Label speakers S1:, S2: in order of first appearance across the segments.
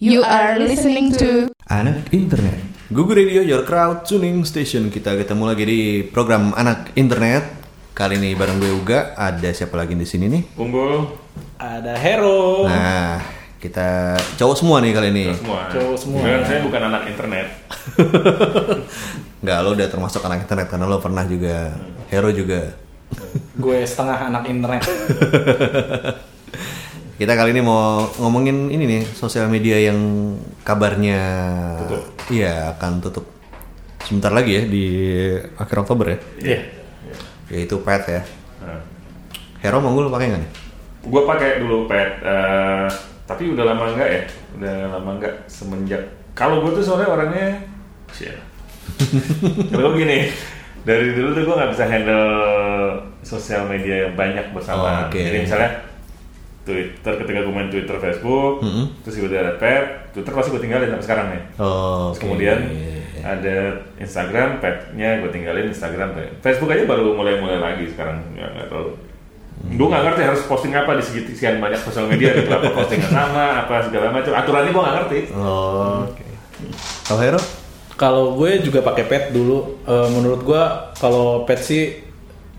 S1: You are listening to
S2: Anak Internet.
S3: Google Radio Your Crowd Tuning Station kita ketemu lagi di program anak internet kali ini bareng gue Uga ada siapa lagi di sini nih
S4: Unggul
S5: Ada Hero.
S3: nah kita cowok semua nih kali ini
S4: semua.
S5: Cowok semua.
S4: Bukan, saya bukan anak internet.
S3: nggak lo udah termasuk anak internet karena lo pernah juga hero juga
S5: Gue setengah anak internet.
S3: kita kali ini mau ngomongin ini nih sosial media yang kabarnya
S4: Tutup.
S3: iya akan tutup sebentar lagi ya di akhir Oktober ya
S4: Iya.
S3: yaitu pet ya
S4: Nah,
S3: hero mau gue pakai nggak nih
S4: Gua pakai dulu pet, eh, tapi udah lama enggak ya? Udah lama enggak semenjak. Kalau gua tuh soalnya orangnya, Sial. Kalau gua gini, dari dulu tuh gua nggak bisa handle sosial media yang banyak bersama.
S3: Oke.
S4: Jadi misalnya Twitter ketika gue main Twitter, Facebook,
S3: Mm-mm.
S4: terus tiba-tiba ada pet, Twitter pasti gue tinggalin sampai sekarang nih.
S3: oh oke.
S4: Terus
S3: iya,
S4: kemudian ada Instagram, petnya gue tinggalin Instagram. ya. Facebook aja baru mulai-mulai lagi sekarang, ya nggak tahu. Gue nggak ngerti harus posting apa di segi- sekian banyak sosial media, gitu. apa posting yang sama, apa segala macam. Aturannya gue nggak ngerti.
S3: Oh, oke. Kalau Hero?
S5: kalau gue juga pakai pet dulu. Eh, menurut gue kalau pet sih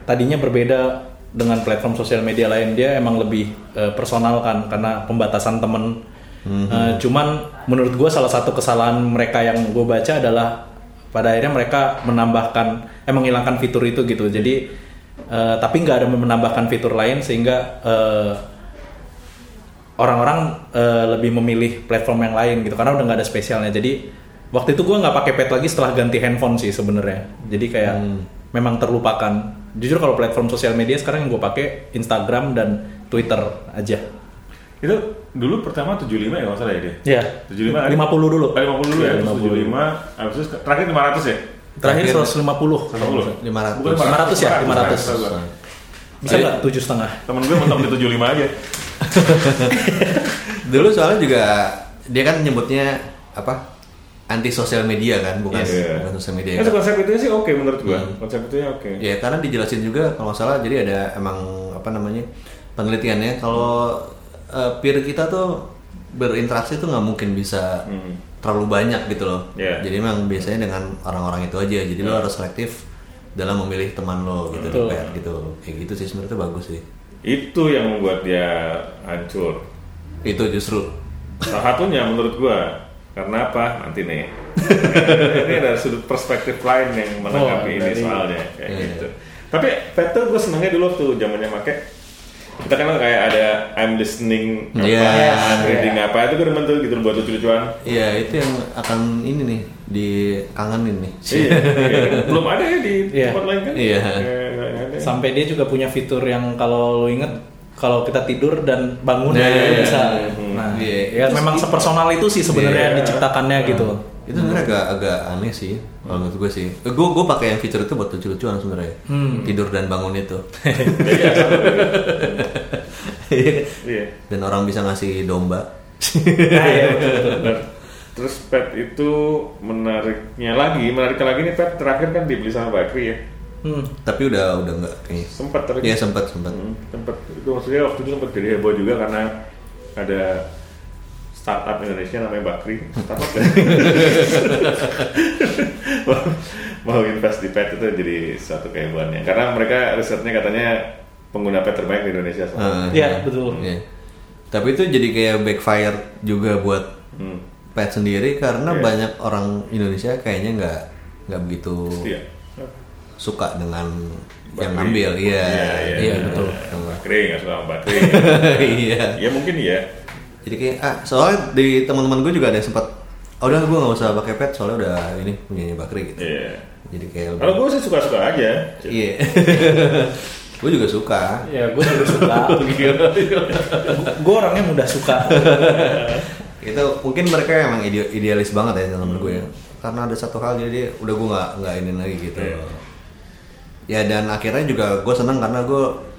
S5: tadinya berbeda dengan platform sosial media lain dia emang lebih eh, personal kan karena pembatasan temen. Eh, cuman menurut gue salah satu kesalahan mereka yang gue baca adalah pada akhirnya mereka menambahkan eh menghilangkan fitur itu gitu. Jadi eh, tapi nggak ada menambahkan fitur lain sehingga eh, orang-orang eh, lebih memilih platform yang lain gitu karena udah nggak ada spesialnya jadi waktu itu gue nggak pakai pet lagi setelah ganti handphone sih sebenarnya jadi kayak
S3: Hmm.
S5: memang terlupakan jujur kalau platform sosial media sekarang yang gue pakai Instagram dan Twitter aja
S4: Itu dulu pertama 75 ya kalau nggak salah ya dia.
S5: ya
S3: Iya.
S4: 75 ada?
S5: 50 dulu
S4: Eh, 50 dulu ya,
S5: Iya,
S4: terus
S5: 50.
S4: 75, habis itu terakhir 500 ya?
S5: terakhir 150
S4: 150?
S3: 500.
S4: Bukan
S5: 500 ya, 500.
S4: gua.
S5: bisa
S3: Iya.
S5: nggak tujuh setengah
S4: Temen gue mentok di 75 aja.
S3: Dulu soalnya juga dia kan nyebutnya apa? Anti sosial media kan, bukan,
S4: Iya.
S3: bukan sosial media.
S4: Kan konsep itu sih oke menurut gue. Konsep itu ya oke.
S3: Ya karena dijelasin juga kalau nggak salah jadi ada emang apa namanya penelitiannya kalau eh, peer kita tuh berinteraksi tuh nggak mungkin bisa terlalu banyak gitu loh.
S4: Iya.
S3: Jadi memang biasanya dengan orang-orang itu aja. Jadi lo harus selektif dalam memilih teman lo gitu, di
S5: Betul.
S3: pair gitu. Kayak gitu sih sebenarnya tuh bagus sih.
S4: Itu yang membuat dia hancur.
S3: Itu justru
S4: Salah satunya menurut gua karena apa? Nanti nih. ini ada sudut perspektif lain yang menanggapi
S5: Oh,
S4: ini
S5: dari-
S4: soalnya kayak
S3: Iya,
S4: gitu. Tapi Peter gua senengnya dulu waktu zamannya make kita kan kayak ada I'm listening apa,
S3: Iya.
S4: I'm reading apa itu gue demen tuh gitu buat lucu-lucuan.
S3: Iya itu yang akan ini nih dikangenin nih.
S4: Iya, iya. belum ada ya di
S5: Iya.
S4: tempat lain kan?
S3: Iya.
S4: Kayak nggak ada.
S5: sampai dia juga punya fitur yang kalau lu inget kalau kita tidur dan bangun
S3: Nah,
S5: dia
S3: iya,
S5: bisa
S3: iya, iya.
S5: nah
S3: Iya. Hmm.
S5: ya memang sepersonal itu sih sebenarnya
S4: Iya.
S5: diciptakannya gitu
S3: Itu sebenarnya agak agak aneh sih kalau menurut gue sih. Gue gue pakai yang fitur itu buat lucu-lucuan sebenarnya. Tidur dan bangun itu.
S4: Iya, sama.
S3: Iya.
S4: Iya.
S3: dan orang bisa ngasih domba.
S4: Nah, iya, betul, betul, betul. Terus pet itu menariknya lagi, menariknya lagi nih pet terakhir kan dibeli sama Bakri ya.
S5: Hmm.
S3: Tapi udah udah enggak kayaknya.
S4: Sempat terakhir.
S3: Iya sempat sempat.
S4: Hmm, tempat itu maksudnya waktu itu sempat jadi heboh juga karena ada startup Indonesia namanya Bakri startup kan? mau, mau invest di pet itu jadi suatu kehebohannya karena mereka risetnya katanya pengguna pet terbaik di Indonesia selama
S3: Heeh.
S5: Iya, betul.
S3: Iya. Tapi itu jadi kayak backfire juga buat
S4: Hmm.
S3: pet sendiri karena
S4: Iya.
S3: banyak orang Indonesia kayaknya nggak nggak begitu
S4: Iya.
S3: suka dengan yang
S4: Bakri.
S3: ambil. Iya.
S4: iya,
S3: Iya betul.
S4: Bakri nggak suka sama Bakri
S3: Iya.
S4: ya mungkin iya
S3: Jadi kayak ah, soalnya di teman-teman gue juga ada yang sempat oh, udah gue nggak usah pakai pet soalnya udah ini punya Bakri gitu.
S4: iya
S3: Jadi kayak lebih-
S4: kalau gue sih suka-suka aja
S3: iya. gue juga suka.
S5: Ya, gue juga suka. gue orangnya mudah suka.
S3: Itu mungkin mereka emang ide- idealis banget ya teman gue ya. Karena ada satu hal jadi udah gue nggak nggak ini lagi gitu.
S4: Iya.
S3: Ya dan akhirnya juga gue seneng karena gue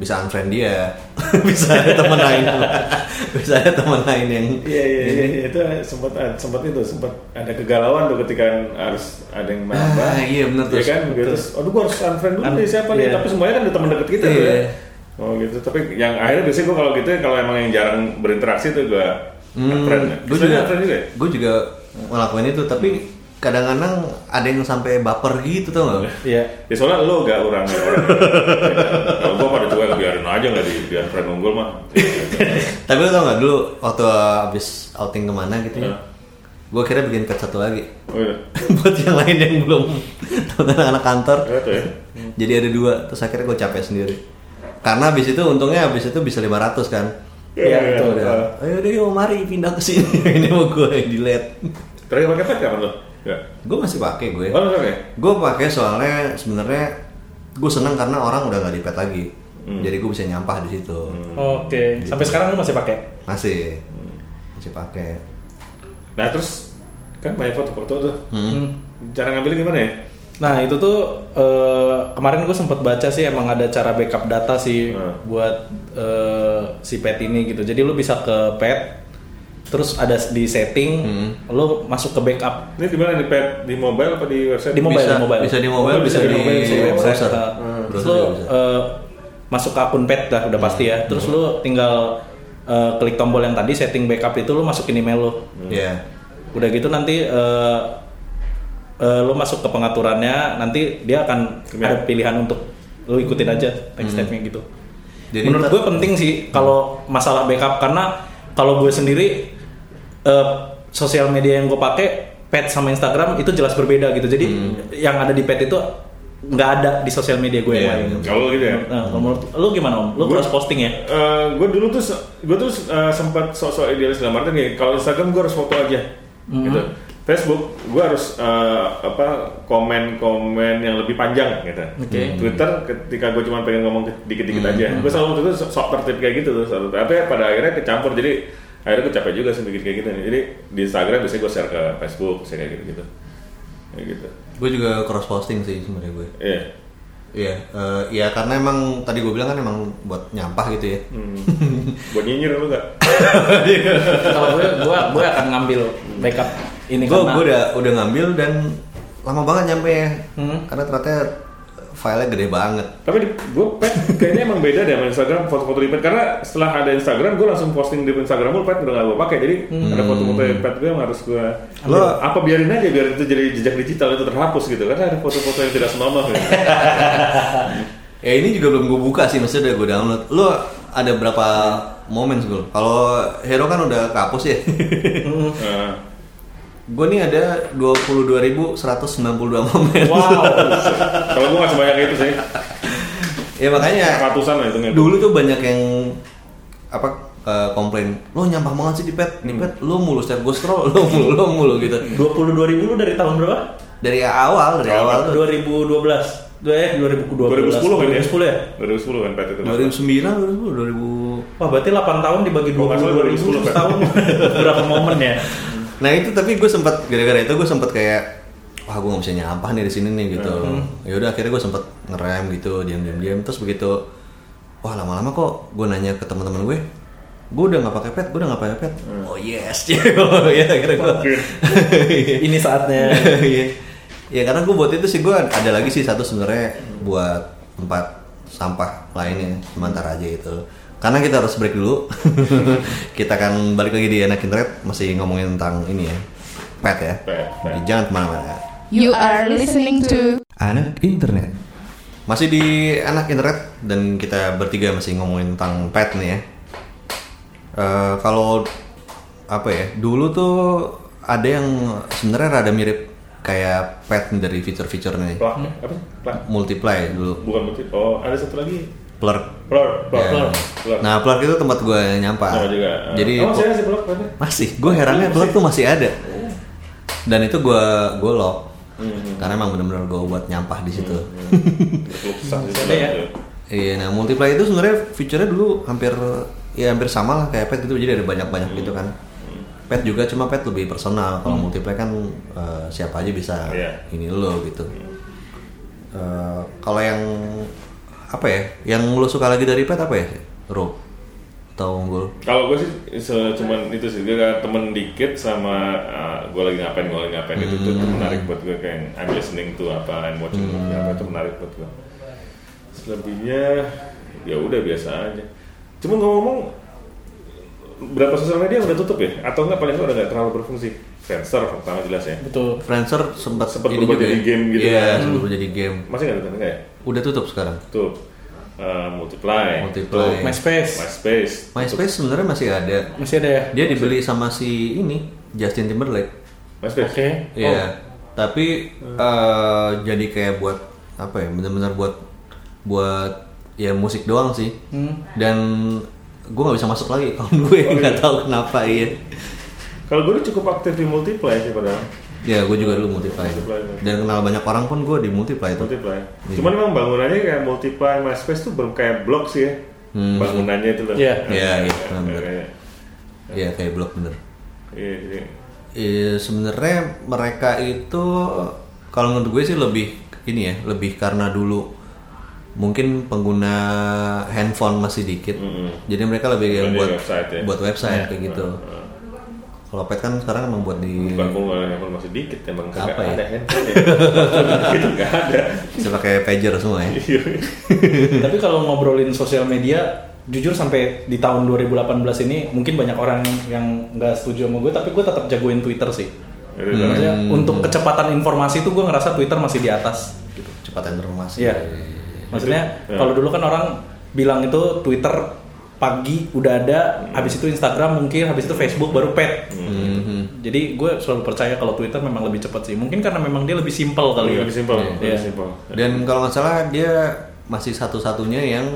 S3: bisa unfriend dia, bisa ada teman lain, bisa ada teman lain yang
S4: Iya iya iya iya. itu sempat sempat itu sempat ada kegalauan tuh ketika harus ada yang nambah.
S3: Ah, iya, bener
S4: Iya
S3: tuh.
S4: kan gitu. Terus aduh gua harus unfriend dulu
S5: Un-
S4: nih siapa nih
S5: iya.
S4: tapi semuanya kan udah teman dekat kita tuh
S3: Iya.
S4: ya. Oh gitu tapi yang akhirnya biasanya gua kalau gitu kalau emang yang jarang berinteraksi tuh gua Hmm,
S3: gue juga,
S4: ya?
S3: gue juga ngelakuin itu,
S4: Hmm.
S3: tapi kadang-kadang ada yang sampai baper gitu tau nggak?
S5: Iya.
S4: Ya soalnya lo gak orang orang. Kalau gua pada cuek biarin aja nggak di biar tren unggul mah.
S3: tapi lo tau nggak dulu waktu abis outing kemana gitu ya?
S4: Iya.
S3: Gue kira bikin pet satu lagi
S4: Oh iya.
S3: buat yang lain yang belum teman anak kantor.
S4: Ternyata ya.
S3: Jadi ada dua, terus akhirnya gue capek sendiri. Karena abis itu untungnya abis itu bisa 500 kan.
S4: Iya,
S5: Iya,
S4: iya,
S5: betul,
S4: iya.
S5: betul.
S3: Ayo deh, yuk, mari pindah ke sini. Ini mau gue delete.
S4: Terakhir pakai pet kapan lo? Nggak.
S3: Gue masih pakai gue.
S4: Oh lo pakai?
S3: Gue pakai soalnya sebenarnya gue seneng karena orang udah nggak dipet lagi.
S4: Hmm.
S3: Jadi gue bisa nyampah di situ.
S5: Oke. Sampai sekarang lu masih pakai?
S3: Masih
S4: Hmm.
S3: masih pakai.
S4: Nah terus kan banyak foto-foto tuh. Cara ngambilnya gimana ya?
S5: Nah itu tuh eh, kemarin gue sempat baca sih emang ada cara backup data sih
S4: Hmm.
S5: buat eh, si pet ini gitu. Jadi lu bisa ke pet, terus ada di setting, lu masuk ke backup
S4: Ini di mana di pet? Di mobile apa di website?
S5: di mobile,
S3: Bisa-
S5: di mobile.
S3: bisa di mobile,
S5: Oh,
S4: bisa di mobile, bisa di
S5: website.
S3: browser.
S5: Nah,
S3: Hmm. Browser juga
S5: Terus lu
S3: bisa. Hmm.
S5: eh, masuk ke akun pet dah udah pasti ya. Terus lu tinggal eh, klik tombol yang tadi setting backup itu lu masukin email lu.
S4: Hmm.
S3: Iya.
S5: Udah gitu nanti eh eh, lu masuk ke pengaturannya, nanti dia akan
S4: Gimana?
S5: ada pilihan untuk lu ikutin aja next
S3: Hmm.
S5: step-nya gitu.
S3: Jadi
S5: Menurut
S3: ntar-
S5: gue penting sih kalau masalah backup karena kalau gue sendiri eh, sosial media yang gue pakai pet sama Instagram itu jelas berbeda gitu. Jadi yang ada di pet itu nggak ada di sosial media gue
S3: Iya,
S5: yang lain.
S3: iya.
S4: Kalau gitu ya.
S5: Nah, kalau menurut lu gimana om? Lu
S4: Gue-
S5: cross posting ya?
S4: gue dulu tuh gue tuh eh, sempat sok-sok idealis dalam artian gini, kalau Instagram gue harus foto aja
S5: Mm-hmm.
S4: gitu Facebook gue harus eh, apa komen-komen yang lebih panjang gitu
S5: Oke. Mm-hmm.
S4: Twitter ketika gue cuma pengen ngomong ke- dikit-dikit aja gue selalu waktu itu sok- sok tertib kayak gitu tuh selalu tapi pada akhirnya kecampur jadi akhirnya gue capek juga sih bikin kayak gitu nih. jadi di Instagram biasanya gue share ke Facebook share kayak gitu gitu kayak gitu
S3: Gue juga cross posting sih sebenarnya gue.
S4: iya
S3: Iya, eh, iya karena emang tadi gue bilang kan emang buat nyampah gitu ya.
S5: Hmm.
S4: buat nyinyir lu gak?
S5: kalau gue, gue, gue akan ngambil backup ini
S3: Gue
S5: karena-
S3: gue udah udah ngambil dan lama banget nyampe ya.
S5: Hmm.
S3: Karena ternyata filenya gede banget.
S4: Tapi gue pet kayaknya emang beda deh sama Instagram foto-foto di pet karena setelah ada Instagram gue langsung posting di Instagram gue pet udah gak gue pakai jadi ada foto-foto di pet gue yang harus gue
S3: Lo-
S4: apa biarin aja biar itu jadi jejak digital itu terhapus gitu karena ada foto-foto yang tidak senonoh gitu.
S3: Ya ini juga belum gue buka sih, maksudnya udah gue download. Lu ada berapa momen gue? Kalau Hero kan udah kehapus ya.
S4: Nah,
S3: gue nih ada 22.192 momen.
S5: Wow.
S4: Nah, kalau gue gak sebanyak itu sih
S3: ya makanya
S4: ratusan lah itu
S3: dulu tuh banyak yang apa eh, komplain lo nyampah banget sih di pet di
S5: Hmm.
S3: pet lo mulu setiap gue scroll lo mulu lo mulu gitu
S5: 22 ribu lu dari tahun berapa?
S3: dari awal dari awal tuh
S5: 2012. Dua eh 2012.
S4: 2010 kan ya
S5: 2010 ya?
S4: 2010 kan pet itu
S3: 2009 2010 2000
S5: Wah berarti 8 tahun dibagi
S4: Kalau Oh,
S5: 20
S4: nggak salah 2010 kan?
S5: tahun berapa momen ya?
S3: Nah itu tapi gue sempat gara-gara itu gue sempat kayak wah gue nggak bisa nyampah nih di sini nih gitu. Ya udah akhirnya gue sempat ngerem gitu diam-diam-diam terus begitu wah lama-lama kok gue nanya ke teman-teman gue gue udah nggak pakai pet, gue udah nggak pakai pet. Oh yes, ya akhirnya gue.
S5: Ini saatnya.
S3: Iya. ya karena gue buat itu sih gue ada lagi sih satu sebenarnya buat tempat sampah lainnya sementara aja itu. Karena kita harus break dulu. kita akan balik lagi di Enakin Red masih ngomongin tentang ini ya. Pet ya.
S4: Pet, pet.
S3: Jadi jangan kemana-mana.
S1: You are listening to
S3: Anak internet. Masih di anak internet dan kita bertiga masih ngomongin tentang pet nih ya. Eh, kalau apa ya dulu tuh ada yang sebenarnya rada mirip kayak pet dari fitur-fiturnya nih.
S4: plak apa sih? plak
S3: multiply dulu
S4: bukan motif oh ada satu lagi
S3: plurk.
S4: plur plur
S3: Ya.
S4: plur plur
S3: Nah plurk Nah, itu tempat gue nyampah.
S4: Sama juga
S3: Jadi
S4: oh, saya sih plur petnya
S3: masih Oh. gue herannya blog tuh masih ada dan itu gue gue lock karena emang bener-bener gue buat nyampah di situ hmm.
S4: Berkelukusan gitu
S5: Ada ya?
S4: gitu.
S3: iya nah multiply itu sebenarnya fiturnya dulu hampir ya hampir sama lah kayak pet gitu jadi ada banyak-banyak gitu kan pet juga cuma pet lebih personal kalau multiply kan eh, siapa aja bisa
S4: Hmm. Iya.
S3: ini lo gitu Eh, kalau yang apa ya yang lo suka lagi dari pet apa ya Rob atau unggul
S4: Kalau gue sih se- cuman itu sih gue kayak temen dikit sama uh, gue lagi ngapain gue lagi ngapain itu tuh menarik buat gue kayak I'm listening to apa I'm watching movie apa itu menarik buat gue. Selebihnya ya udah biasa aja. Cuma ngomong berapa sosial media udah tutup ya? Atau enggak paling enggak udah nggak terlalu berfungsi? Friendster pertama jelas ya.
S5: Betul.
S3: Friendster sempat
S4: Sempat
S3: ini
S4: berubah
S3: juga
S4: jadi
S3: ya.
S4: game gitu
S3: Iya,
S4: kan.
S3: sempat berubah jadi game.
S4: Masih nggak tutup enggak ya?
S3: Udah tutup sekarang.
S4: Tutup. Eh, multiply.
S3: Multiply.
S4: Tutup.
S5: MySpace
S4: MySpace.
S3: MySpace sebenarnya masih ada.
S5: masih ada ya?
S3: Dia dibeli sama si ini Justin Timberlake.
S4: MySpace.
S5: Oke.
S3: Iya.
S4: Oh.
S3: Tapi eh, jadi kayak buat apa ya? Bener-bener buat buat ya musik doang sih.
S4: Hmm.
S3: Dan gue nggak bisa masuk lagi kalau
S4: Oh,
S3: gue nggak tahu kenapa iya.
S4: Kalau gue cukup aktif di multiply sih padahal.
S3: Ya gue juga dulu multiply.
S4: Multiply.
S3: Dan kenal banyak orang pun gue di multiply itu.
S4: Multiply. Cuman memang bangunannya kayak multiply MySpace tuh ber- kayak blok sih ya. Bangunannya itu loh.
S5: Iya.
S3: Iya, iya,
S4: Kayak-
S3: benar.
S4: kayak-
S3: Iya kayak blog bener.
S4: Iya, jadi
S3: Iya, sebenarnya mereka itu kalau menurut gue sih lebih ini ya, lebih karena dulu mungkin pengguna handphone masih dikit. Jadi mereka lebih yang
S4: Bukan di
S3: buat
S4: website ya?
S3: buat website kayak gitu. Kalau pet kan sekarang emang buat di
S4: bukan pengeluaran handphone masih dikit emang nggak
S3: Apa ya?
S4: ada handphone ya. Itu nggak ada.
S3: bisa pakai pager semua
S4: Iya.
S3: ya.
S5: Tapi kalau ngobrolin sosial media, jujur sampai di tahun 2018 ini mungkin banyak orang yang nggak setuju sama gue, tapi gue tetap jagoin Twitter sih. Iya,
S4: Itu
S5: Maksudnya untuk kecepatan informasi itu gue ngerasa Twitter masih di atas.
S3: Gitu, Cepat informasi.
S5: Iya. Maksudnya kalau dulu kan orang bilang itu Twitter pagi udah ada, habis itu Instagram mungkin, habis itu Facebook baru pet. Jadi gue selalu percaya kalau Twitter memang lebih cepat sih. Mungkin karena memang dia lebih simple kali ya.
S4: lebih simpel,
S5: Iya.
S4: lebih simpel.
S3: Dan kalau nggak salah dia masih satu-satunya yang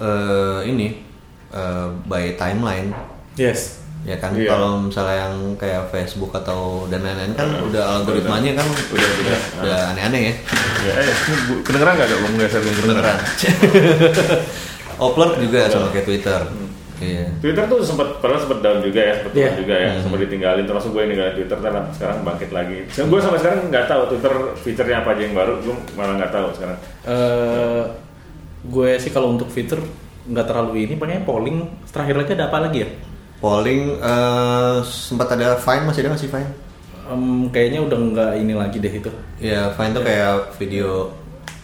S3: eh, ini eh, by timeline.
S5: Yes.
S3: ya kan
S4: Iya.
S3: kalau misalnya yang kayak Facebook atau dan lain-lain kan udah algoritmanya kan udah udah aneh-aneh ya
S4: Ya, eh, ini bu- kedengeran nggak ada ngomong dasar yang kedengeran?
S3: upload juga sama kayak Twitter iya
S4: Twitter tuh sempat pernah sempat down juga ya, sempat
S5: Iya.
S4: turun juga ya, sempat ditinggalin termasuk gue yang ninggalin Twitter karena sekarang bangkit lagi. Sekarang gue sampai sekarang nggak tahu Twitter fiturnya apa aja yang baru, gue malah nggak tahu sekarang.
S5: eh gue sih kalau untuk fitur nggak terlalu ini, pakai polling. Terakhir lagi ada apa lagi ya?
S3: polling eh, sempat ada Vine masih ada masih Vine
S5: Em, kayaknya udah nggak ini lagi deh itu.
S3: ya Vine tuh kayak video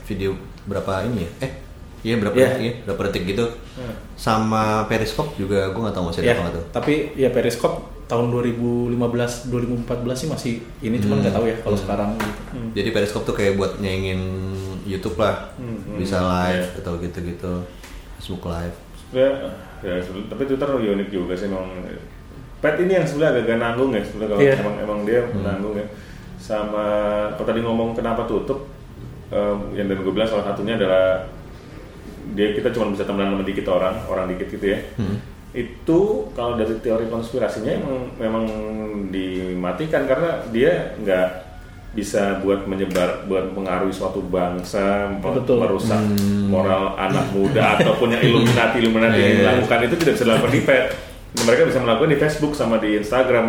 S3: video berapa ini ya eh iya berapa
S5: Iya.
S3: detik ya berapa detik gitu sama Periscope juga gue nggak tahu masih ada
S5: Ya,
S3: apa nggak tuh
S5: tapi ya Periscope tahun 2015 2014 sih masih ini cuman nggak tahu ya kalau sekarang gitu.
S3: Jadi Periscope tuh kayak buat nyaingin YouTube lah, bisa live atau gitu-gitu, Facebook live.
S4: Ya, ya, sebel- tapi Twitter unik juga sih memang. Pet ini yang sebenarnya agak-agak nanggung ya sebenarnya kalau
S5: Iya.
S4: emang emang dia nanggung ya. Sama kalau tadi ngomong kenapa tutup, eh, yang dan gue bilang salah satunya adalah dia kita cuma bisa temenan sama dikit orang, orang dikit gitu ya. Itu kalau dari teori konspirasinya emang memang dimatikan karena dia nggak bisa buat menyebar, buat mempengaruhi suatu bangsa, memper-
S5: Betul.
S4: merusak moral anak muda ataupun yang Illuminati Illuminati yang dilakukan itu tidak bisa dilakukan di pet. Nah, Mereka bisa melakukan di Facebook sama di Instagram.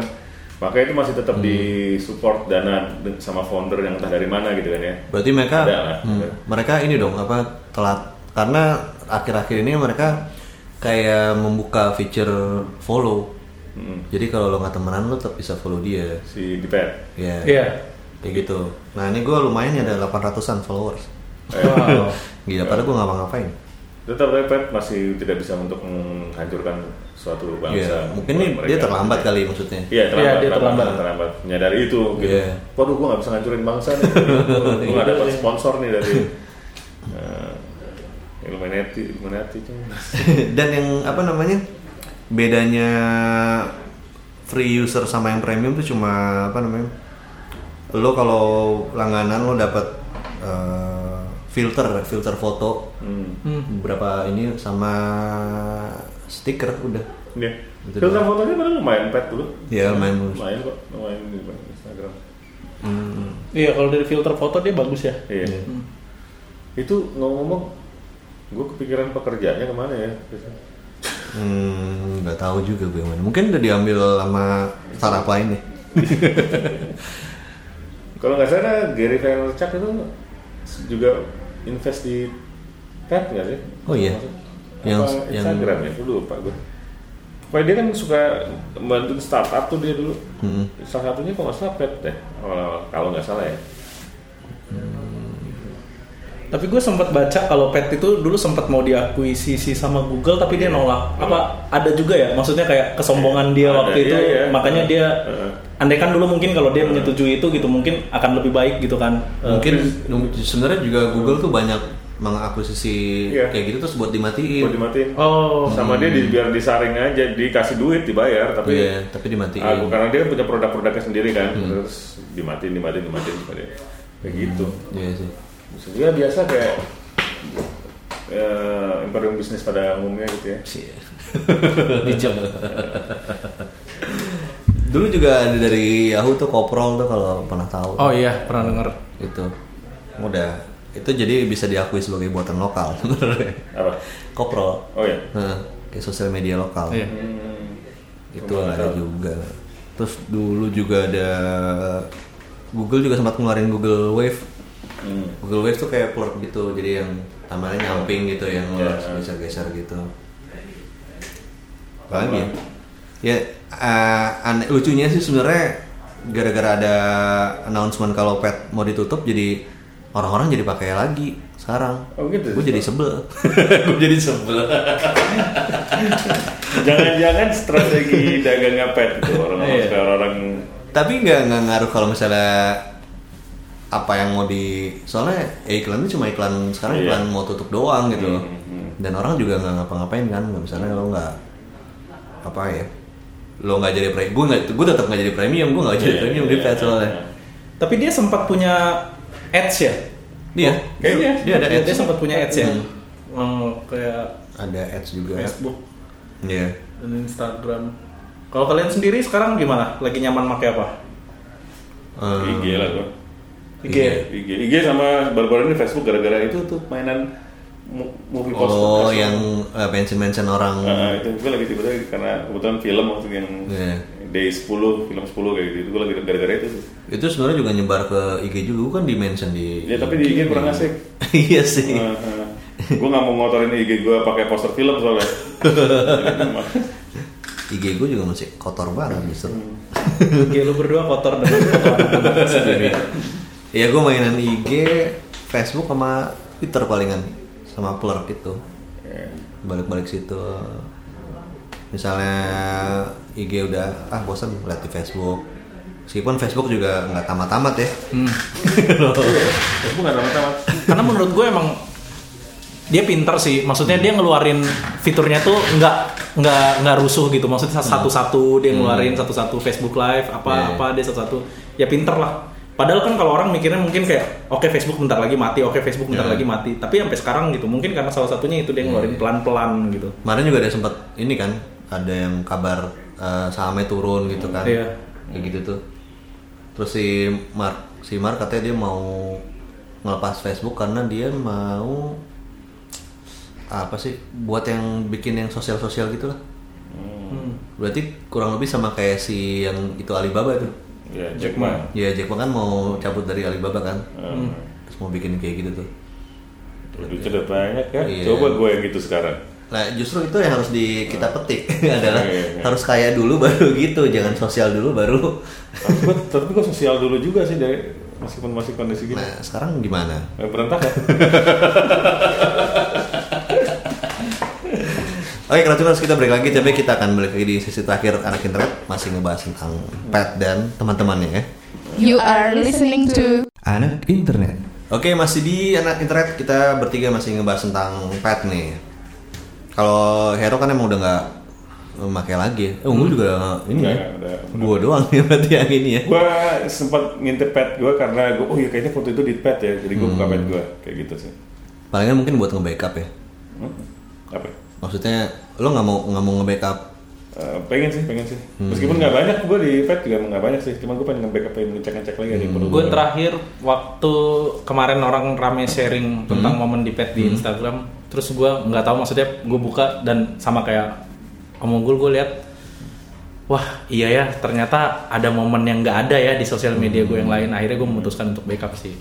S4: Maka itu masih tetap disupport dana de- sama founder yang entah dari mana gitu kan ya.
S3: Berarti mereka
S4: Ada lah.
S3: hmm, mereka ini dong apa telat karena akhir-akhir ini mereka kayak membuka feature follow.
S4: Hmm.
S3: Jadi kalau lo nggak temenan lo tetap bisa follow dia.
S4: Si di pet.
S3: Ya.
S5: Iya.
S3: Kayak gitu. Nah ini gue lumayan ya ada 800an followers.
S5: Wow.
S3: Gila, padahal gue ngapa-ngapain.
S4: Tetap tapi pet masih tidak bisa untuk menghancurkan suatu bangsa.
S3: Iya, mungkin nih dia
S4: Mereka-
S3: terlambat kali maksudnya.
S4: Iya terlambat,
S5: Iya, dia
S4: terlambat,
S5: terlambat.
S4: terlambat. Menyadari itu, gitu.
S3: Iya.
S4: Waduh, gue nggak bisa ngancurin bangsa nih. gue nggak dapat sponsor nih dari eh, Illuminati, Illuminati tuh.
S3: dan yang apa namanya bedanya free user sama yang premium tuh cuma apa namanya lo kalau langganan lo dapat eh, filter filter foto
S4: Hmm.
S3: beberapa ini sama stiker udah
S4: Iya.
S3: Itu
S4: Filter fotonya padahal lumayan pet dulu.
S3: ya main
S4: Lumayan kok, lumayan di Instagram.
S5: Iya, kalau dari filter foto dia bagus ya.
S4: Iya. Itu ngomong-ngomong, gue kepikiran pekerjaannya kemana ya?
S3: hmm nggak tahu juga gue yang mana mungkin udah diambil sama startup lain deh
S4: Kalau nggak salah Gary Vaynerchuk itu juga invest di pet nggak sih?
S3: oh iya yang
S4: apa
S3: yang
S4: Instagram ya, dulu lupa gue. Pokoknya dia kan suka bantuin startup tuh dia dulu.
S3: Mm-mm.
S4: Salah satunya kok nggak salah Pet deh, awal-awal. kalau nggak salah ya.
S5: Tapi gue sempat baca kalau pet itu dulu sempat mau diakuisisi sama Google tapi dia nolak. Iya. Apa ada juga ya? Maksudnya kayak kesombongan dia
S4: Ada,
S5: waktu itu,
S4: iya, iya.
S5: makanya dia.
S4: Heeh.
S5: Andaikan dulu mungkin kalau dia menyetujui itu gitu mungkin akan lebih baik gitu kan. Eh,
S3: mungkin sebenarnya juga Google tuh banyak mengakuisisi
S4: Iya.
S3: kayak gitu terus buat dimatiin.
S4: Mau dimatiin.
S5: Oh,
S4: Sama dia di- biar disaring aja, dikasih duit dibayar, tapi
S3: Iya, tapi dimatiin.
S4: Ah, karena dia punya produk-produknya sendiri kan, terus dimatiin, dimatiin, dimatiin, dimatiin. Kayak gitu.
S3: Iya sih.
S4: Maksudnya biasa kayak eh, imperium bisnis pada umumnya gitu ya.
S3: Dijam. Dulu juga ada dari Yahoo tuh Koprol tuh kalau pernah tahu.
S5: Oh iya pernah denger.
S3: Itu udah itu jadi bisa diakui sebagai buatan lokal sebenarnya.
S4: Apa?
S3: Koprol.
S4: Oh ya.
S3: Nah, kayak sosial media lokal.
S5: Iya.
S3: Itu ada juga. Terus dulu juga ada Google juga sempat ngeluarin Google Wave. Google Wave tuh kayak plug gitu, jadi yang tambahnya nyamping gitu, yang lo harus geser-geser gitu. Apa lagi ya? Ya, eh, aneh- lucunya sih sebenarnya gara-gara ada announcement kalau pet mau ditutup, jadi orang-orang jadi pakai lagi sekarang.
S4: Oh, gitu.
S3: Gue jadi sebel. Gue jadi sebel.
S4: Jangan-jangan strategi dagangnya pet gitu orang-orang
S5: Iya.
S4: sekarang orang
S3: tapi nggak nggak ngaruh kalau misalnya apa yang mau di soalnya ya iklan itu cuma iklan sekarang
S4: Iya. Hmm,
S3: iklan mau tutup doang gitu loh dan orang juga nggak ngapa-ngapain kan nggak misalnya lo nggak apa ya lo nggak jadi premium gue nggak gue tetap nggak jadi premium gue nggak jadi
S4: Iya,
S3: premium di
S4: iya,
S3: Pet soalnya
S4: iya.
S5: Tapi dia sempat punya ads ya?
S3: dia
S4: Iya,
S3: dia ada ads
S5: Dia sempat punya ads ya.
S3: Hmm.
S5: Oh, kayak
S3: ada ads juga
S4: Iya.
S3: Iya. ya
S5: Facebook dan Instagram. Kalau kalian sendiri sekarang gimana? Lagi nyaman pakai apa?
S3: Eh,
S4: IG lah gua.
S5: IG. ya?
S4: IG, IG sama baru-baru ini Facebook gara-gara itu tuh mainan mu- movie poster.
S3: oh
S4: Poster.
S3: yang mention mention orang
S4: Nah, itu gue lagi tiba-tiba karena kebetulan film waktu itu yang
S3: Iya.
S4: day 10, film 10 kayak gitu. Itu gue lagi gara-gara itu. sih.
S3: itu sebenarnya juga nyebar ke IG juga kan di mention di
S4: Ya tapi di IG kurang asik. Ah.
S3: iya sih
S4: gue Eh, nggak mau ngotorin IG gue pakai poster film soalnya.
S3: IG gue juga masih kotor banget justru.
S5: IG lu berdua kotor dengan kotor anak-anak sendiri.
S3: Ya gue mainan IG, Facebook sama Twitter palingan sama Plurk itu. Balik-balik situ. Misalnya IG udah ah bosan lihat di Facebook. Meskipun Facebook juga nggak tamat-tamat ya.
S4: Gue nggak tamat-tamat.
S5: Karena menurut gue emang dia pinter sih. Maksudnya dia ngeluarin fiturnya tuh nggak nggak nggak rusuh gitu. Maksudnya satu-satu dia ngeluarin satu-satu Facebook Live
S3: Iya.
S5: apa apa dia satu-satu. Ya pinter lah. Padahal kan kalau orang mikirnya mungkin kayak oke Facebook bentar lagi mati, oke Facebook bentar lagi mati. Tapi sampai sekarang gitu mungkin karena salah satunya itu dia ngeluarin pelan-pelan gitu.
S3: Kemarin juga ada sempat ini kan ada yang kabar eh, sahamnya turun gitu kan.
S5: Iya.
S3: Kayak gitu tuh. Terus si Mark, si Mark katanya dia mau ngelepas Facebook karena dia mau apa sih buat yang bikin yang sosial-sosial gitu lah. Berarti kurang lebih sama kayak si yang itu Alibaba tuh.
S4: Ya Jack Ma.
S3: Ya Jack Ma kan mau cabut dari Alibaba kan. Terus mau bikin kayak gitu tuh.
S4: Lucu udah banyak ya.
S3: Iya.
S4: Coba gue yang gitu sekarang.
S3: Nah, justru itu yang harus di kita petik adalah
S4: Iya, iya.
S3: harus kaya dulu baru gitu, jangan sosial dulu baru.
S4: Tapi gue, tapi gue sosial dulu juga sih dari meskipun masih kondisi gini.
S3: Nah, sekarang gimana?
S4: Eh, Berantak ya.
S3: Oke, keracunan Oh, iya, kita break lagi, tapi kita akan balik lagi di sesi terakhir anak internet masih ngebahas tentang pet dan teman-temannya ya.
S1: You are listening to
S3: Anak internet. Oke, masih di anak internet kita bertiga masih ngebahas tentang pet nih. Kalau Hero kan emang udah nggak memakai lagi. ya. Eh, Unggul juga ini ya.
S4: Nggak, udah.
S3: Gua doang ya berarti yang ini ya.
S4: gue sempat ngintip pet gue karena gue oh iya kayaknya foto itu di pet ya jadi gue
S3: Hmm.
S4: buka pet gue kayak gitu sih
S3: Palingan mungkin buat nge-backup ya.
S4: Hmm? apa
S3: Maksudnya lo nggak mau nggak mau nge-backup
S4: Eh, pengen sih pengen sih
S3: Hmm.
S4: meskipun nggak banyak gue di pet juga nggak banyak sih cuma gue pengen nge-backup pengen ngecek ngecek lagi
S3: Hmm.
S4: ada yang perlu
S5: Gue
S4: gua-
S5: terakhir waktu kemarin orang
S3: Hmm.
S5: rame sharing tentang momen di pet di Instagram, terus gue nggak tahu maksudnya gue buka dan sama kayak Omonggul gue lihat, wah iya ya ternyata ada momen yang nggak ada ya di sosial media gue yang
S3: Hmm.
S5: lain. Akhirnya gue memutuskan untuk backup sih.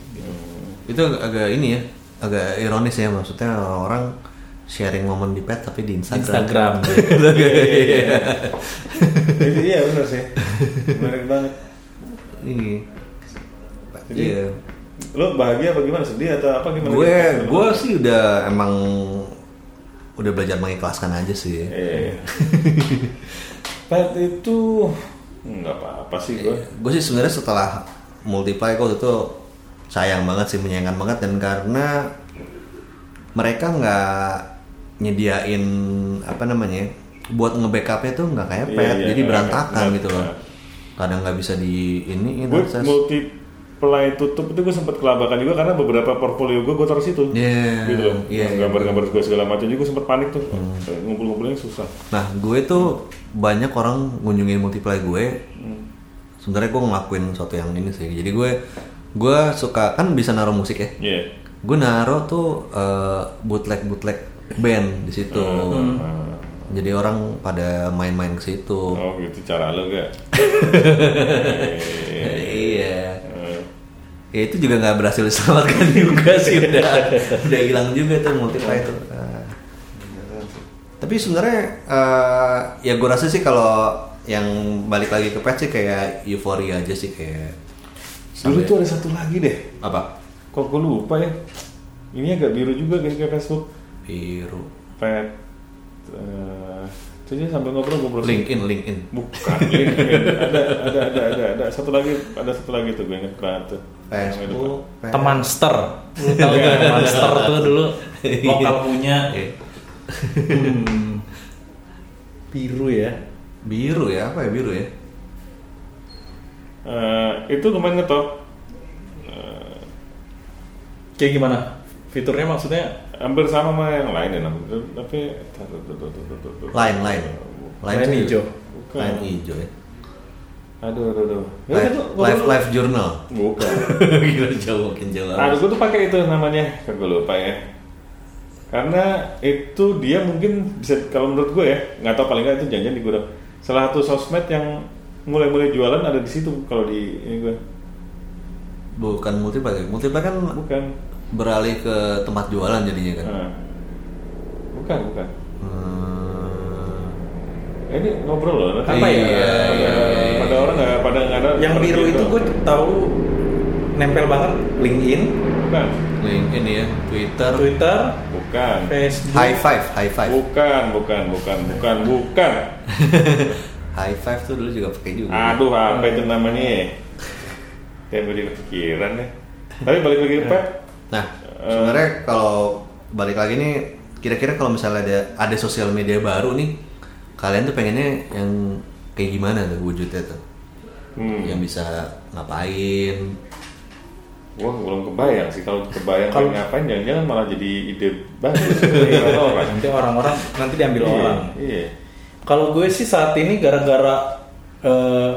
S3: itu ag- agak ini ya agak ironis ya maksudnya orang-orang sharing momen di pet tapi di Instagram.
S5: Instagram.
S3: Iya,
S4: Jadi, iya benar sih menarik banget
S3: ini.
S4: Jadi,
S3: Iya.
S4: Lo bahagia apa gimana? Sedih atau apa gimana?
S3: gue gue sih udah emang udah belajar mengikhlaskan aja sih
S4: Eh. Pet itu nggak apa-apa sih gue.
S3: gue sih sebenarnya setelah multiply kok itu sayang banget sih menyayangkan banget dan karena mereka nggak nyediain apa namanya ya, buat nge-backupnya tuh nggak kayak
S4: Iya,
S3: pet
S4: iya,
S3: jadi
S4: nggak-
S3: berantakan
S4: nggak-
S3: gitu loh
S4: nggak.
S3: kadang nggak bisa di ini
S4: Gue multiply tutup itu gue sempet kelabakan juga karena beberapa portfolio gue gue taruh situ.
S3: Iya,
S4: Gitu loh.
S3: iya, iya.
S4: Yang
S3: Hmm.
S4: Gambar-gambar gue segala macam juga gue sempet panik tuh. Ngumpul-ngumpulnya susah.
S3: Nah, gue tuh banyak orang ngunjungin multiply gue. Sebenarnya gue ngelakuin suatu yang ini sih. Jadi gue gue suka kan bisa naruh musik ya.
S4: Iya.
S3: Gue naruh tuh eh, bootleg bootleg band di situ. Jadi orang pada main-main ke situ.
S4: Oh gitu cara lo gak?
S3: Iya. Ya itu juga nggak berhasil diselamatkan juga sih udah udah hilang juga tuh multiply itu. Nah. Tapi sebenarnya eh, ya gue rasa sih kalau yang balik lagi ke pet sih kayak euforia aja sih kayak
S4: Dulu tuh ada satu lagi deh.
S3: apa
S4: Kok gue lupa ya? Ini agak biru juga kayak kayak Facebook.
S3: biru
S4: Pet. eh, Itu aja sambil ngobrol ngobrol.
S3: LinkedIn LinkedIn.
S4: Bukan. link. ada, ada, ada, ada, ada. Satu lagi, ada satu lagi tuh gue inget banget tuh. Namanya lupa.
S3: Facebook. Pet.
S5: Temanster. Lu Tahu gak Temanster tuh dulu lokal punya.
S3: Iya.
S5: Hmm. Biru ya.
S3: Biru ya apa ya biru ya?
S4: Eh, itu lumayan ngetop. Eh,
S5: Kayak gimana? Fiturnya maksudnya
S4: hampir sama sama yang lain ya, nam- tapi tar, tar, tar, tar, tar, tar, tar.
S3: Lain lain.
S5: Lain
S3: tuh-
S5: hijau.
S4: Bukan.
S3: Lain hijau ya.
S4: Aduh, aduh, aduh. Ya,
S3: Live,
S4: itu-
S3: live, live journal.
S4: Bukan.
S3: Gila jauh makin jauh.
S4: Aduh, gue tuh pakai itu namanya, kan gue lupa ya. Karena itu dia mungkin bisa, kalau menurut gue ya, nggak tahu paling nggak itu jangan-jangan digodok. Salah satu sosmed yang mulai-mulai jualan ada di situ kalau di ini gue.
S3: Bukan multiply, multiply kan
S4: Bukan.
S3: beralih ke tempat jualan jadinya kan.
S4: Nah. Bukan, bukan.
S3: Hmm.
S4: Eh, ini ngobrol loh. Nanti
S5: Apa ya?
S4: Pada,
S3: Iya, iya,
S4: pada orang nggak pada nggak ada.
S5: yang
S4: seperti
S5: biru itu gue tahu nempel banget LinkedIn,
S4: Bukan,
S3: LinkedIn ya, Twitter.
S5: Twitter,
S4: bukan,
S5: Facebook.
S3: High five, high five.
S4: bukan, bukan, bukan, bukan, bukan.
S3: High five tuh dulu juga pakai juga.
S4: Aduh, apa itu namanya? ya? Saya beri kepikiran ya. Tapi balik lagi ke Pep.
S3: Nah, sebenarnya kalau balik lagi nih, kira-kira kalau misalnya ada ada sosial media baru nih, kalian tuh pengennya yang kayak gimana tuh wujudnya tuh?
S4: Hmm.
S3: Yang bisa ngapain?
S4: Wah, belum kebayang sih. Kalau kebayang
S5: Kalau-
S4: pengen ngapain, jangan-jangan malah jadi ide bagus. Iya, orang.
S5: Nanti orang-orang nanti diambil
S4: Iya,
S5: orang.
S4: Iya.
S5: Kalau gue sih saat ini gara-gara eh,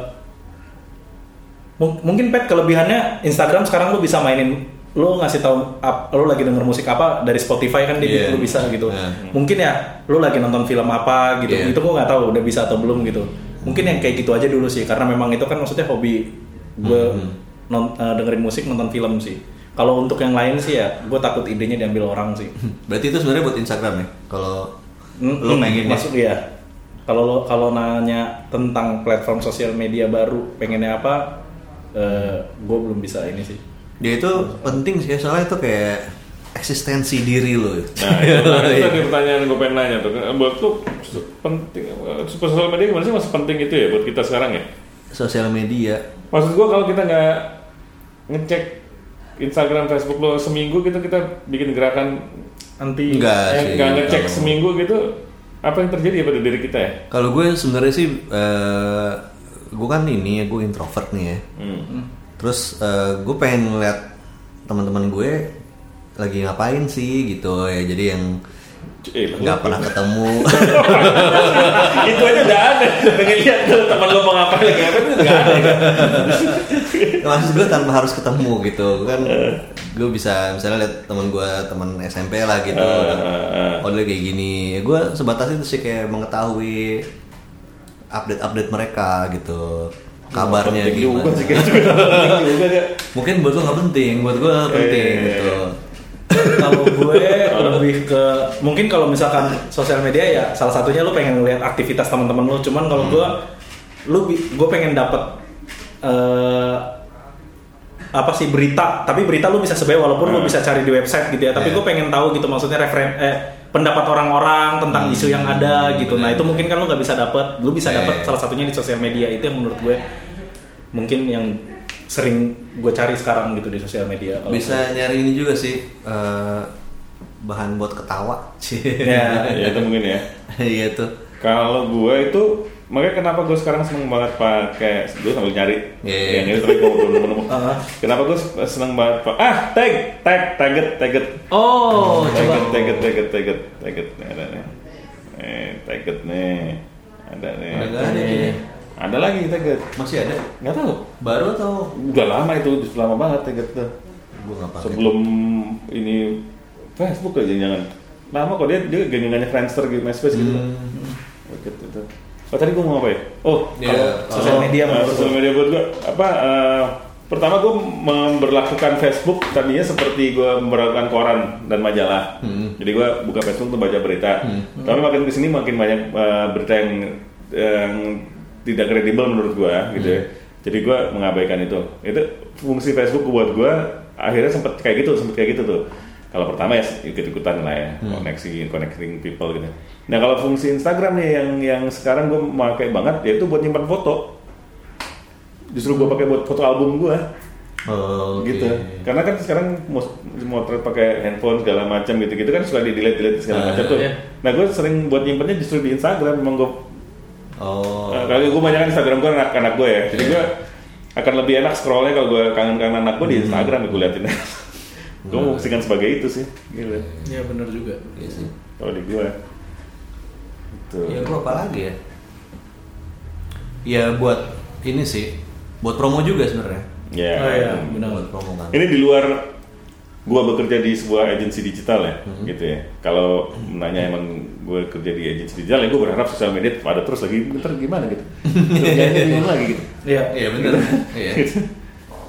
S5: mung- mungkin pet kelebihannya Instagram sekarang lo bisa mainin lo ngasih tahu ap- lo lagi denger musik apa dari Spotify kan
S3: Iya.
S5: dia lo bisa gitu.
S3: Nah.
S5: Mungkin ya lo lagi nonton film apa gitu.
S3: Iya.
S5: Itu gue nggak tahu udah bisa atau belum gitu. Mungkin yang kayak gitu aja dulu sih karena memang itu kan maksudnya hobi gue
S3: Mm-hmm.
S5: non- eh, dengerin musik nonton film sih. Kalau untuk yang lain sih ya gue takut idenya diambil orang sih.
S3: Berarti itu sebenarnya buat Instagram ya? Kalau lo
S5: Mm-mm,
S3: pengen
S5: masuk ya. Kalau lo kalau nanya tentang platform sosial media baru pengennya apa, gue belum bisa ini sih.
S3: Dia itu penting sih, soalnya itu kayak eksistensi diri lo.
S4: Nah,
S3: Iya.
S4: itu, itu tadi pertanyaan gue pengen nanya tuh. Nah, Buat lu se- penting, super sosial media gimana sih masih penting itu ya buat kita sekarang ya?
S3: Sosial media.
S4: Maksud gue kalau kita nggak ngecek Instagram, Facebook lo seminggu gitu kita bikin gerakan
S5: Nanti
S3: Enggak
S4: eh,
S3: Ah, sih.
S4: nggak ngecek
S3: kalau-
S4: seminggu gitu apa yang terjadi ya pada diri kita ya?
S3: Kalau gue sebenarnya sih, eh gue kan ini ya, gue introvert nih ya.
S4: Hmm.
S3: Terus eh, gue pengen ngeliat teman-teman gue lagi ngapain sih gitu ya. Jadi yang
S4: Eh,
S3: nggak pernah ketemu.
S4: itu aja udah ada. Pengen lihat tuh teman lo mau ngapain lagi apa itu nggak ada. kan?
S3: Maksud gue tanpa harus ketemu gitu kan.
S4: Eh.
S3: Gue bisa misalnya lihat teman gue teman SMP lah gitu.
S4: Eh,
S3: Oh dia kayak gini. Gue sebatas itu sih kayak mengetahui update-update mereka gitu. Kabarnya
S4: Penting juga
S3: gimana.
S4: sih kayak juga. Penting juga ya.
S3: Mungkin buat lo nggak penting, buat gue penting
S4: iya,
S3: gitu.
S5: kalau gue lebih ke mungkin kalau misalkan sosial media ya salah satunya lo pengen ngeliat aktivitas teman-teman lo. Cuman kalau gue, lo gue pengen dapet eh, apa sih berita tapi berita lu bisa sebenarnya walaupun lu bisa cari di website gitu ya tapi
S3: Iya.
S5: gue pengen tahu gitu maksudnya referen eh, pendapat orang-orang tentang isu yang ada gitu nah itu mungkin kan lu nggak bisa dapet lu bisa
S3: Iya, iya.
S5: dapet salah satunya di sosial media itu yang menurut gue mungkin yang sering gue cari sekarang gitu di sosial media Kalau
S3: bisa nyari ini juga sih eh, bahan buat ketawa sih
S5: Ya.
S4: ya itu mungkin ya
S3: iya tuh
S4: Kalau gua itu makanya kenapa gue sekarang seneng banget pakai gue sambil nyari
S3: Iya, iya.
S4: yang ini tapi gue belum nemu nemu.
S5: Aha.
S4: Kenapa gue seneng banget pak? Ah tag tag taget taget
S5: Oh, coba.
S4: taget taget taget taget taget Nih, ada nih eh taget nih ada nih
S3: Ada ada kayaknya.
S4: ada lagi taget
S3: masih ada
S4: nggak tahu
S3: baru atau
S4: udah lama itu udah lama banget taget tuh
S3: gue nggak pakai
S4: sebelum ini Facebook aja jangan lama kok dia dia genggangannya Friendster gitu MySpace gitu
S5: Hmm.
S4: Oke, itu. Oh tadi gue mau apa ya? Oh,
S3: Iya,
S4: kalau-
S5: sosial
S4: eh,
S5: media menurut
S4: sosial media buat gue apa? eh, pertama gue memperlakukan Facebook tadinya seperti gue memperlakukan koran dan majalah. Jadi gue buka Facebook tuh baca berita. Tapi makin kesini makin banyak eh, berita yang, yang tidak kredibel menurut gue, gitu. ya. Jadi gue mengabaikan itu. Itu fungsi Facebook buat gue akhirnya sempat kayak gitu, sempat kayak gitu tuh kalau pertama ya ikut-ikutan lah ya koneksi connecting people gitu nah kalau fungsi Instagram nih yang yang sekarang gue pakai banget yaitu buat nyimpan foto justru gue pakai buat foto album gue
S3: oh, oke.
S4: gitu karena kan sekarang mos- motret pakai handphone segala macam gitu gitu kan suka di delete delete
S3: Ah,
S4: segala macam tuh
S5: iya.
S4: nah gue sering buat nyimpannya justru di Instagram emang gue
S3: oh
S4: Eh, Kali gue banyak Instagram gue anak anak gue ya, jadi gue akan lebih enak scrollnya kalau gue kangen kangen anak gue di Instagram gue liatin. gue mau fungsikan sebagai itu sih, gitu.
S5: Iya benar juga.
S4: kan?
S3: iya sih
S4: Kalau di Gitu. gue, itu.
S3: ya
S5: Iya.
S3: gue apa lagi ya ya buat ini sih buat promo juga sebenarnya
S4: Ya.
S5: Oh iya, benar.
S3: buat promo kan
S4: Ini di luar gue bekerja di sebuah agensi digital ya,
S3: Mhm.
S4: gitu ya. Kalau menanya emang gue kerja di agensi digital ya, gue berharap sosial media tetap ada terus lagi. Bentar gimana gitu? Kerjaannya gimana lagi gitu?
S5: Iya.
S3: iya bener iya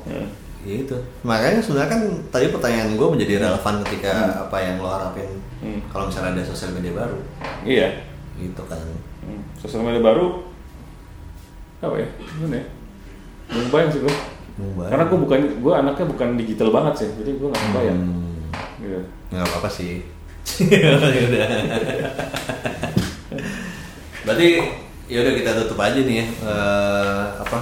S4: Nah.
S3: Ya itu makanya sebenarnya kan tadi pertanyaan gue menjadi relevan ketika apa yang lo harapin
S4: Hmm.
S3: kalau misalnya ada sosial media baru
S4: Iya.
S3: gitu kan
S4: Hmm. Sosial media baru apa ya? Gimana ya? Belum bayang sih gue.
S3: Mumbai
S4: Karena gue bukan gue anaknya bukan digital banget sih, jadi gue nggak kebayang.
S3: Hmm,
S4: Gitu.
S3: nggak apa apa sih Yaudah. berarti yaudah kita tutup aja nih ya Eh, apa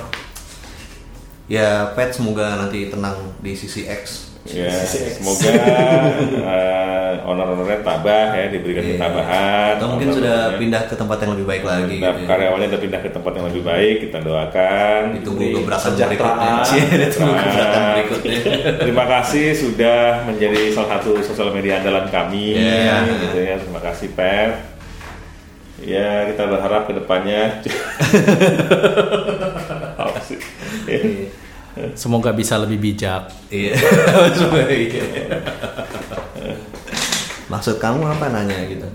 S3: ya pet semoga nanti tenang di sisi X
S4: Ya, semoga eh, honor-honornya tabah ya, diberikan
S3: Iya.
S4: ketabahan.
S3: atau mungkin sudah
S4: honor-honornya.
S3: pindah ke tempat yang lebih baik lagi
S4: Pindah-
S3: gitu ya.
S4: karyawannya udah pindah ke tempat yang lebih baik, kita doakan.
S3: ditunggu
S5: Diberi
S3: gebrakan
S5: kesejahteraan.
S3: berikutnya Cie, ditunggu gebrakan
S4: Nah,
S3: berikutnya
S4: Terima kasih sudah menjadi salah satu sosial media andalan kami.
S3: Iya.
S4: Gitu ya. Terima kasih Pep. Ya kita berharap kedepannya. Apa sih?
S5: Semoga bisa lebih bijak.
S3: iya Semoga iya. maksud kamu apa nanya gitu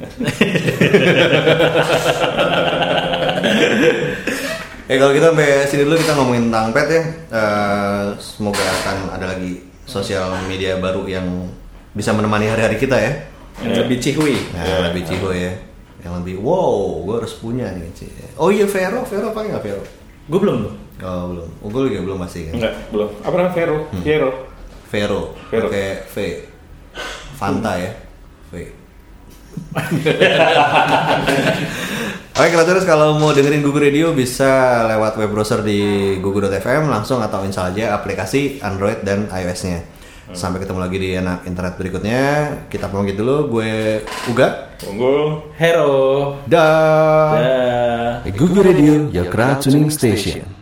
S3: Eh kalau kita sampai sini dulu kita ngomongin tentang pet ya. Eh, semoga akan ada lagi sosial media baru yang bisa menemani hari-hari kita ya.
S5: Yang lebih cihui.
S3: Nah, lebih ciho ya. Yang lebih wow, gue harus punya nih. Cie. Oh iya Vero, Vero apa nggak Vero?
S5: Gue belum loh.
S3: Oh belum. Oh, gue juga belum masih kan.
S4: Enggak, belum. Apa namanya Vero? Vero.
S3: Vero,
S4: Vero.
S3: pakai V. Fanta ya. V. Oke, kalau terus kalau mau dengerin Google Radio bisa lewat web browser di google.fm langsung atau install aja aplikasi Android dan iOS-nya. Sampai ketemu lagi di anak internet berikutnya. Kita pamit dulu. Gue Uga.
S4: Unggul.
S5: Hero.
S3: Dah.
S5: Dah.
S3: Google Radio, your crowd tuning station.